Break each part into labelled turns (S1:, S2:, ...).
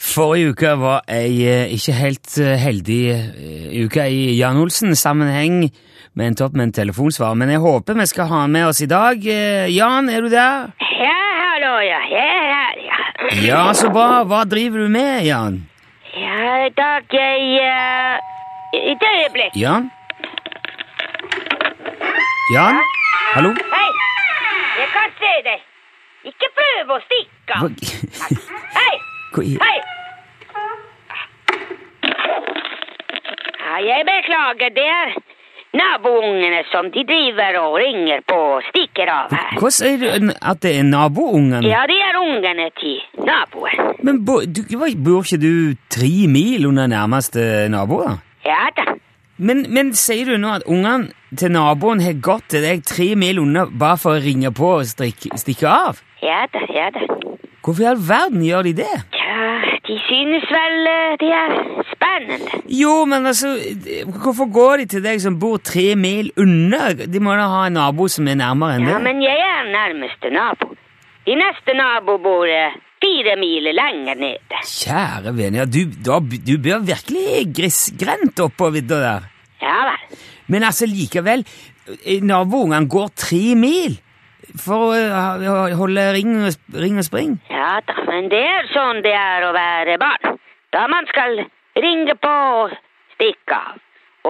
S1: Forrige uke var ei eh, ikke helt eh, heldig eh, uke i Jan Olsen-sammenheng. Vi endte opp med en telefonsvar, men jeg håper vi skal ha han med oss i dag. Eh, Jan, er du der?
S2: Ja, hallo, ja. Jeg er her, ja.
S1: Ja, så bra. Hva driver du med, Jan?
S2: Ja, i dag jeg eh, I det øyeblikk.
S1: Jan? Jan? Hallo?
S2: Hei! Jeg kan se deg. Ikke prøv å stikke
S1: Hva,
S2: av. Hei!
S1: hva i
S2: Hei! Ja, jeg beklager. Det er naboungene som de driver og ringer på og stikker av her.
S1: Hva sier du n- at det er naboungen?
S2: Ja, de er ungene til naboen.
S1: Men bo, du, hva- bor ikke du tre mil under nærmeste nabo, da?
S2: Ja da.
S1: Men, men sier du nå at ungene til naboen har gått til deg tre mil unna bare for å ringe på og strik, stikke av?
S2: Ja da, ja da.
S1: Hvorfor i all verden gjør de det?
S2: Ja, de synes vel eh, de er spennende.
S1: Jo, men altså, d- hvorfor går de til deg som bor tre mil unna? De må da ha en nabo som er nærmere enn
S2: Ja,
S1: det.
S2: men jeg er nærmeste nabo. De neste nabo bor eh, fire miler lenger nede.
S1: Kjære vene, ja, du, da, du bør virkelig grisgrendt oppå vidda der.
S2: Ja vel.
S1: Men altså, likevel, eh, naboungene går tre mil for å eh, ha- holde ring og, sp- ring og spring.
S2: Ja da, men det er sånn det er å være barn. Da man skal ringe på og stikke av.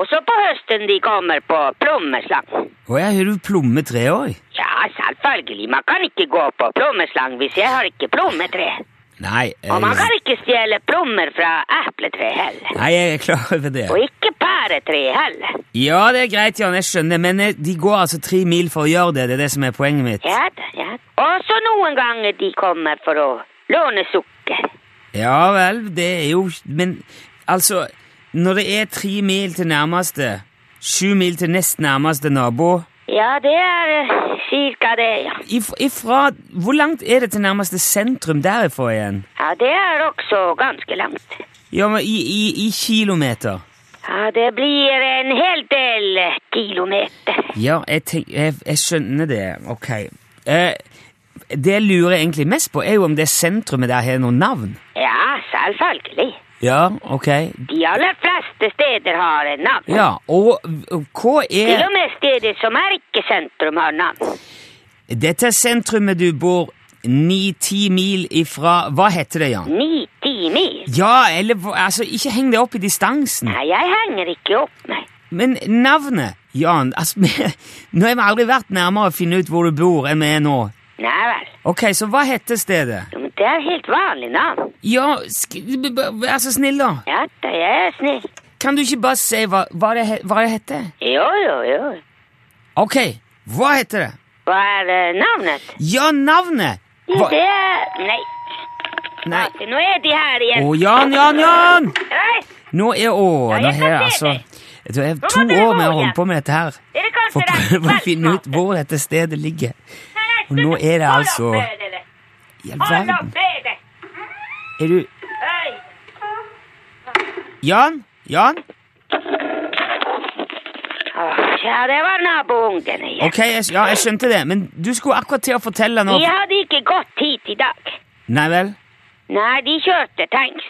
S2: Og så på høsten de kommer på plommeslang.
S1: Å ja, har du plommetre òg?
S2: Ja, selvfølgelig. Man kan ikke gå på plommeslang hvis jeg har ikke plommetre.
S1: Nei, eh,
S2: Og man kan ikke stjele plommer fra epletre heller.
S1: nei, jeg er klar over det.
S2: Og ikke pæretre heller.
S1: Ja, det er greit, Jan, jeg skjønner, men eh, de går altså tre mil for å gjøre det. Det er det som er poenget mitt.
S2: Ja da, ja. Og så noen ganger de kommer for å låne sukker.
S1: Ja vel, det er jo Men altså, når det er tre mil til nærmeste, sju mil til nest nærmeste nabo
S2: Ja, det er eh, cirka det, ja.
S1: if, Ifra Hvor langt er det til nærmeste sentrum derifra igjen?
S2: Ja, det er også ganske langt.
S1: Ja, men i, i, i kilometer.
S2: Ja, det blir en hel del eh, kilometer.
S1: Ja, jeg, tenk, jeg, jeg skjønner det. Ok. Eh, det jeg lurer egentlig mest på, er jo om det sentrumet der har noe navn.
S2: Ja, selvfølgelig.
S1: Ja, ok.
S2: De aller fleste steder har en navn.
S1: Ja, og og hva
S2: Til
S1: er
S2: og med steder som er ikke sentrum, har navn.
S1: dette sentrumet du bor ni-ti mil ifra? Hva heter det, Jan?
S2: Ni-ti mil.
S1: Ja, eller hva- altså, ikke heng deg opp i distansen.
S2: Nei, jeg henger ikke opp meg.
S1: Men navnet, Jan altså, vi- Nå har vi aldri vært nærmere å finne ut hvor du bor enn vi er nå.
S2: Nei vel.
S1: Ok, så hva heter stedet?
S2: Jo, men det er helt vanlig navn.
S1: Ja, sk b- b- vær så snill, da.
S2: Ja da, jeg er snill.
S1: Kan du ikke bare si hva, hva, det, he- hva det heter?
S2: Jo, jo, jo.
S1: Ok, hva heter det?
S2: Hva er eh, navnet?
S1: Ja, navnet!
S2: Jo,
S1: Hva?
S2: det er Nei,
S1: Nei.
S2: altså, nå er de her
S1: Å,
S2: igjen.
S1: Jan, Jan, Jan!
S2: Nei,
S1: Nå er Å,
S2: Ja,
S1: nå
S2: jeg
S1: har jeg
S2: kan se
S1: altså
S2: det.
S1: Vet du, jeg har
S2: Nå
S1: to
S2: må dere
S1: år med å
S2: gå
S1: holde
S2: igjen.
S1: på med dette her.
S2: dere kan
S1: For å prøve å finne ut hvor dette stedet ligger. Og nå er det altså I all
S2: Hold
S1: verden.
S2: opp med det!
S1: Er du
S2: Hei!
S1: Jan? Jan?
S2: Åh, Ja, det var naboungene igjen.
S1: Ok, jeg, ja, jeg skjønte det, men du skulle akkurat til å fortelle nå
S2: De hadde ikke gått hit i dag.
S1: Nei vel?
S2: Nei, de kjørte tanks.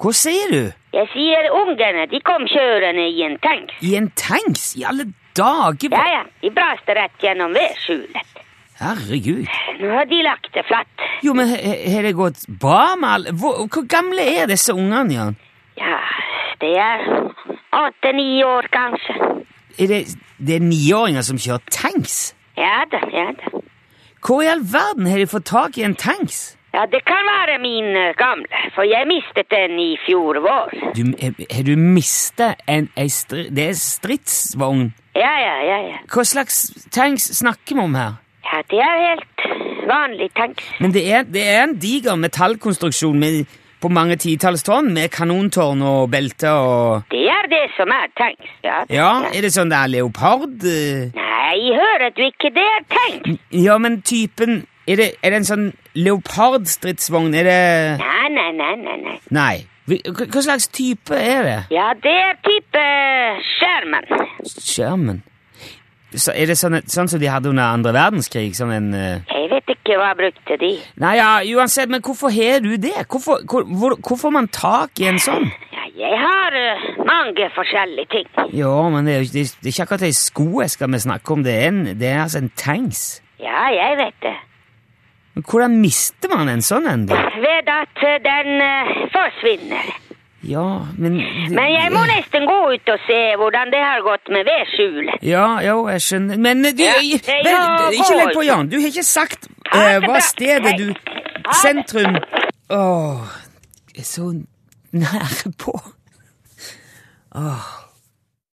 S1: Hva sier du?
S2: Jeg sier ungene, de kom kjørende i en tanks.
S1: I en tanks? I alle dager?
S2: Ja, ja, de braste rett gjennom vedskjulet.
S1: Herregud.
S2: Nå har de lagt det flatt.
S1: Jo, men he- he- har det gått bra med alle hvor, hvor gamle er disse ungene, Jan?
S2: Ja, det er åtte-ni år, kanskje.
S1: Er det, det er niåringer som kjører tanks?
S2: Ja da, ja da.
S1: Hvor i all verden har de fått tak i en tanks?
S2: Ja, det kan være min eh, gamle, for jeg mistet den i fjor vår.
S1: Du, eh, har- har du mista en ei stri, Det er stridsvogn.
S2: Ja, ja, ja, ja.
S1: Hva slags tanks snakker vi om her?
S2: Ja, det er helt vanlig tanks.
S1: Men det er, det er en diger metallkonstruksjon med, på mange titalls tonn, med kanontårn og belte og
S2: Det er det som er tanks, ja.
S1: Ja, er det sånn det er leopard? eh?
S2: Nei, hører du ikke, det er tanks.
S1: Ja, men typen Er det, er det en sånn leopardstridsvogn? Er det
S2: Nei, nei, nei, nei, nei.
S1: Nei. Hvi- Hva hva slags type er det?
S2: Ja, det er type eh, skjermen.
S1: Sherman. Så er det sånn, sånn som de hadde under andre verdenskrig? Sånn en eh,
S2: Jeg vet ikke hva brukte de.
S1: Nei, ja, uansett, men hvorfor har du det? Hvorfor, hvor, hvor, hvor får man tak i en sånn?
S2: Ja, jeg har eh, mange forskjellige ting.
S1: Jo, men det er, jo ikke- det er ikke akkurat ei skoeske vi snakker om, det er, en, det er altså en tanks.
S2: Ja, jeg vet det.
S1: Men hvordan mister man en sånn en, da?
S2: Ved at eh, den eh, forsvinner.
S1: Ja, men
S2: Men jeg må nesten gå ut og se hvordan det har gått med vedskjulet.
S1: Ja, jo, jeg skjønner Men eh, du,
S2: Ja,
S1: jeg-
S2: det er
S1: vel,
S2: jo
S1: ikke legg på,
S2: folk.
S1: Jan. Du har ikke sagt
S2: Ha
S1: eh,
S2: det
S1: hva
S2: bra.
S1: stedet du
S2: Hei.
S1: Sentrum Åh, så nære på. Åh,